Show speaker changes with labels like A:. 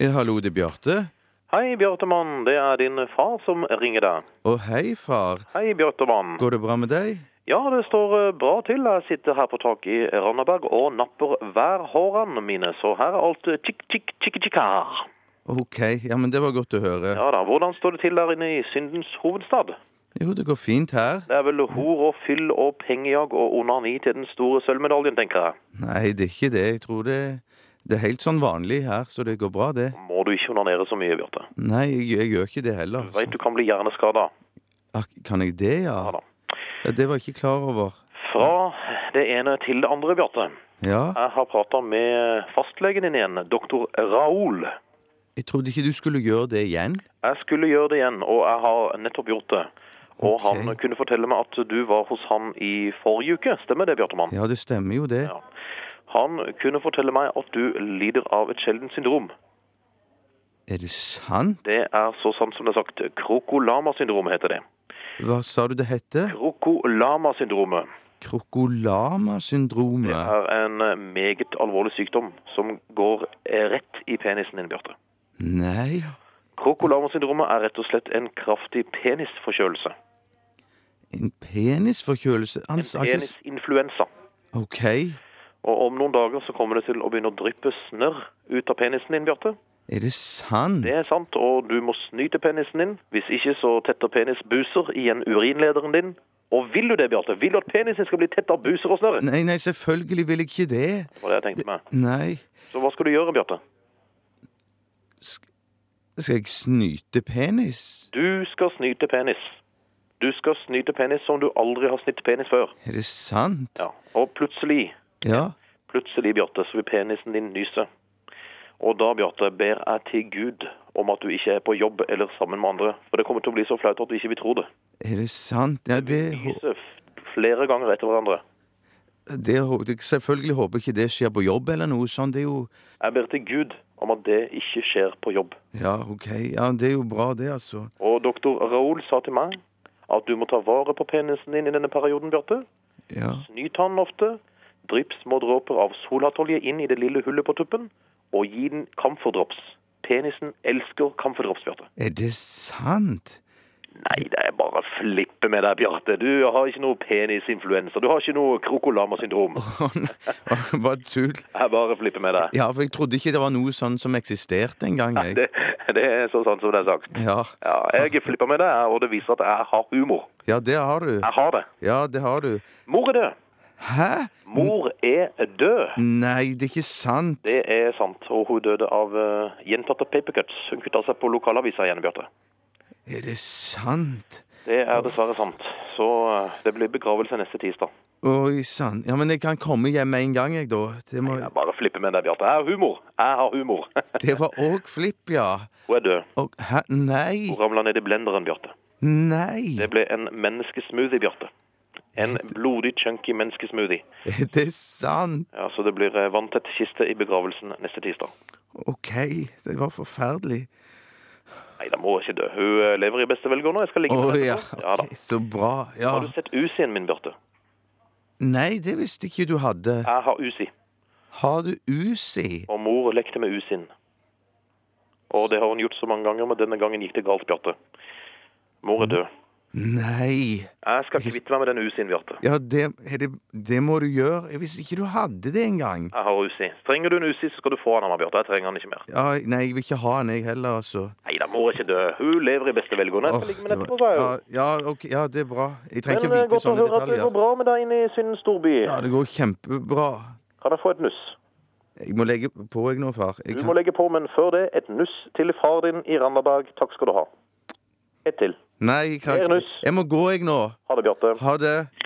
A: Eh, Hallo, det er Bjarte.
B: Hei, Bjartemann. Det er din far som ringer deg.
A: Å, hei, far.
B: Hei, Bjartemann.
A: Går det bra med deg?
B: Ja, det står eh, bra til. Jeg sitter her på taket i Randaberg og napper hver hårene mine, så her er alt eh, tikk, tikk, tikk, tikk her.
A: OK. Ja, men det var godt å høre.
B: Ja da, hvordan står det til der inne i syndens hovedstad?
A: Jo, det går fint her.
B: Det er vel hor og fyll og pengejag og onani til den store sølvmedaljen, tenker jeg.
A: Nei, det er ikke det. Jeg tror det Det er helt sånn vanlig her, så det går bra, det.
B: Må du ikke onanere så mye, Bjarte.
A: Nei, jeg, jeg gjør ikke det heller.
B: Veit du kan bli hjerneskada.
A: Ah, Kan jeg det,
B: Ja
A: ja?
B: da.
A: ja? Det var jeg ikke klar over.
B: Fra det ene til det andre, Bjarte.
A: Ja,
B: Jeg har prata med fastlegen din igjen, doktor Raoul.
A: jeg trodde ikke du skulle gjøre det igjen.
B: Jeg skulle gjøre det igjen, og jeg har nettopp gjort det. Og
A: Ok.
B: han kunne fortelle meg at du var hos han i forrige uke. Stemmer det, Bjartemann?
A: Ja, det stemmer jo, det.
B: Ja. Han kunne fortelle meg at du lider av et sjeldent syndrom.
A: Er det sant?
B: Det er så sant som det er sagt. Krokolama-syndrom heter det.
A: Hva sa du det heter?
B: Krokolama-syndromet
A: Krokolama-syndromet?
B: er en meget alvorlig sykdom som går rett i penisen din, Bjarte.
A: Nei,
B: Krokolama-syndromet er rett og slett en kraftig penisforkjølelse.
A: en penisforkjølelse? Han sa ikke s-
B: Penisinfluensa.
A: OK.
B: Og om noen dager så kommer det til å begynne å dryppe snørr ut av penisen din, Bjarte.
A: Er det sant?
B: Det er sant, og du må snyte penisen din. Hvis ikke så tetter penis buser igjen urinlederen din. Og vil du det, Bjarte? Vil du at penisen skal bli tett av buser og snørr?
A: Nei, nei, selvfølgelig vil jeg ikke det.
B: Det var det jeg tenkte meg.
A: Nei.
B: Så hva skal du gjøre, Bjarte?
A: Skal jeg snyte penis?
B: Du skal snyte penis. Du skal snyte penis som du aldri har snytt penis før.
A: Er det sant?
B: Ja. Og plutselig,
A: Ja.
B: plutselig, Bjarte, så vil penisen din nyse. Og da, Bjarte, ber jeg til Gud om at du ikke er på jobb eller sammen med andre. For det kommer til å bli så flaut at du ikke vil tro det.
A: Er det sant? Ja, det, hå-
B: Lyse f- flere ganger etter hverandre.
A: det, hå- det Selvfølgelig håper jeg ikke det skjer på jobb eller noe sånt. Det er jo
B: Jeg ber til Gud om at det ikke skjer på jobb.
A: Ja, OK. Ja, det er jo bra, det, altså.
B: Og doktor Raoul sa til meg at du må ta vare på penisen din i denne perioden, Bjarte.
A: Ja.
B: Snyt han ofte. Drypp små dråper av solhattolje inn i det lille hullet på tuppen, og gi den camferdrops. Penisen elsker camferdrops, Bjarte.
A: Er det sant?
B: Nei, det er bare å flippe med deg, Bjarte. Du har ikke noe penisinfluensa. Du har ikke noe krokolama-syndrom.
A: Å, nei. Bare tull.
B: Jeg bare flipper med deg.
A: Ja, for jeg trodde ikke det var noe sånn som eksisterte engang, jeg.
B: Det, det er så sant som det er sagt.
A: Ja.
B: Ja, jeg flipper med det, og det viser at jeg har humor.
A: ja, det har du.
B: Jeg har det.
A: Ja, det har du.
B: Mor er død.
A: Hæ?
B: Mor er død.
A: Nei, det er ikke sant.
B: Det er sant, og hun døde av eh, gjentatte papercuts. Hun kutta seg på lokalavisa igjen, Bjarte.
A: Er det sant?
B: Det er dessverre sant. Så eh, det blir begravelse neste tirsdag.
A: Oi sann. Ja, men jeg kan komme hjem med en gang, jeg, da. Det, må...
B: Jeg bare flipper med deg, Bjarte. Jeg har humor. Jeg har humor.
A: det var òg flipp, ja.
B: hun er død.
A: Og hæ? Nei.
B: Hun ramla ned i blenderen, Bjarte.
A: Nei.
B: Det ble en menneskesmoothie, Bjarte. En blodig, chunky menneskesmoothie.
A: Er det sant?
B: Ja, så det blir eh, vanntett kiste i begravelsen neste tirsdag.
A: OK. Det var forferdelig.
B: Nei, da må hun ikke dø. Hun eh, lever i beste velgående. og Jeg skal
A: Å
B: ligge med henne.
A: ja.
B: etterpå. Ja da.
A: ok, Ah. Så bra. Ja.
B: Har du sett Usien min, Bjarte?
A: Nei, det visste ikke du hadde.
B: Jeg har Usi,
A: Har du Uzi?
B: og mor lekte med Usin. Og det har hun gjort så mange ganger, men denne gangen gikk det galt, Bjarte. Mor
A: Mm.
B: er død.
A: Nei.
B: Jeg skal kvitte meg med den Usin, Bjarte.
A: Ja, det, er det, det må du gjøre. Jeg visste ikke du hadde det engang.
B: Jeg har Usi. Trenger du en Usi, så skal du få han av meg, Bjarte. Jeg trenger han ikke mer.
A: Ja, nei, jeg vil ikke ha den, jeg heller, altså.
B: Nei da, mor er ikke død. Hun lever i beste velgående. Jeg
A: Åh,
B: skal ligge med
A: det
B: henne etterpå,
A: var,
B: sa jeg
A: ja,
B: jo.
A: ja, ok, ja, det er bra. Jeg trenger
B: Men
A: ikke
B: eh,
A: vite
B: godt å
A: sånne
B: høre at det
A: detaljer.
B: går bra med deg inne i Syndens storby.
A: Ja, det går kjempebra.
B: Kan jeg få et nuss?
A: Jeg må legge på, jeg nå, far. Jeg
B: Du
A: kan...
B: må legge på, men før det, et nuss til far din i Randaberg. Takk skal du ha. Et til.
A: Nei, jeg kan
B: Mer
A: ikke.
B: nuss.
A: Jeg må gå, jeg nå.
B: Ha det, Bjarte.
A: Ha det.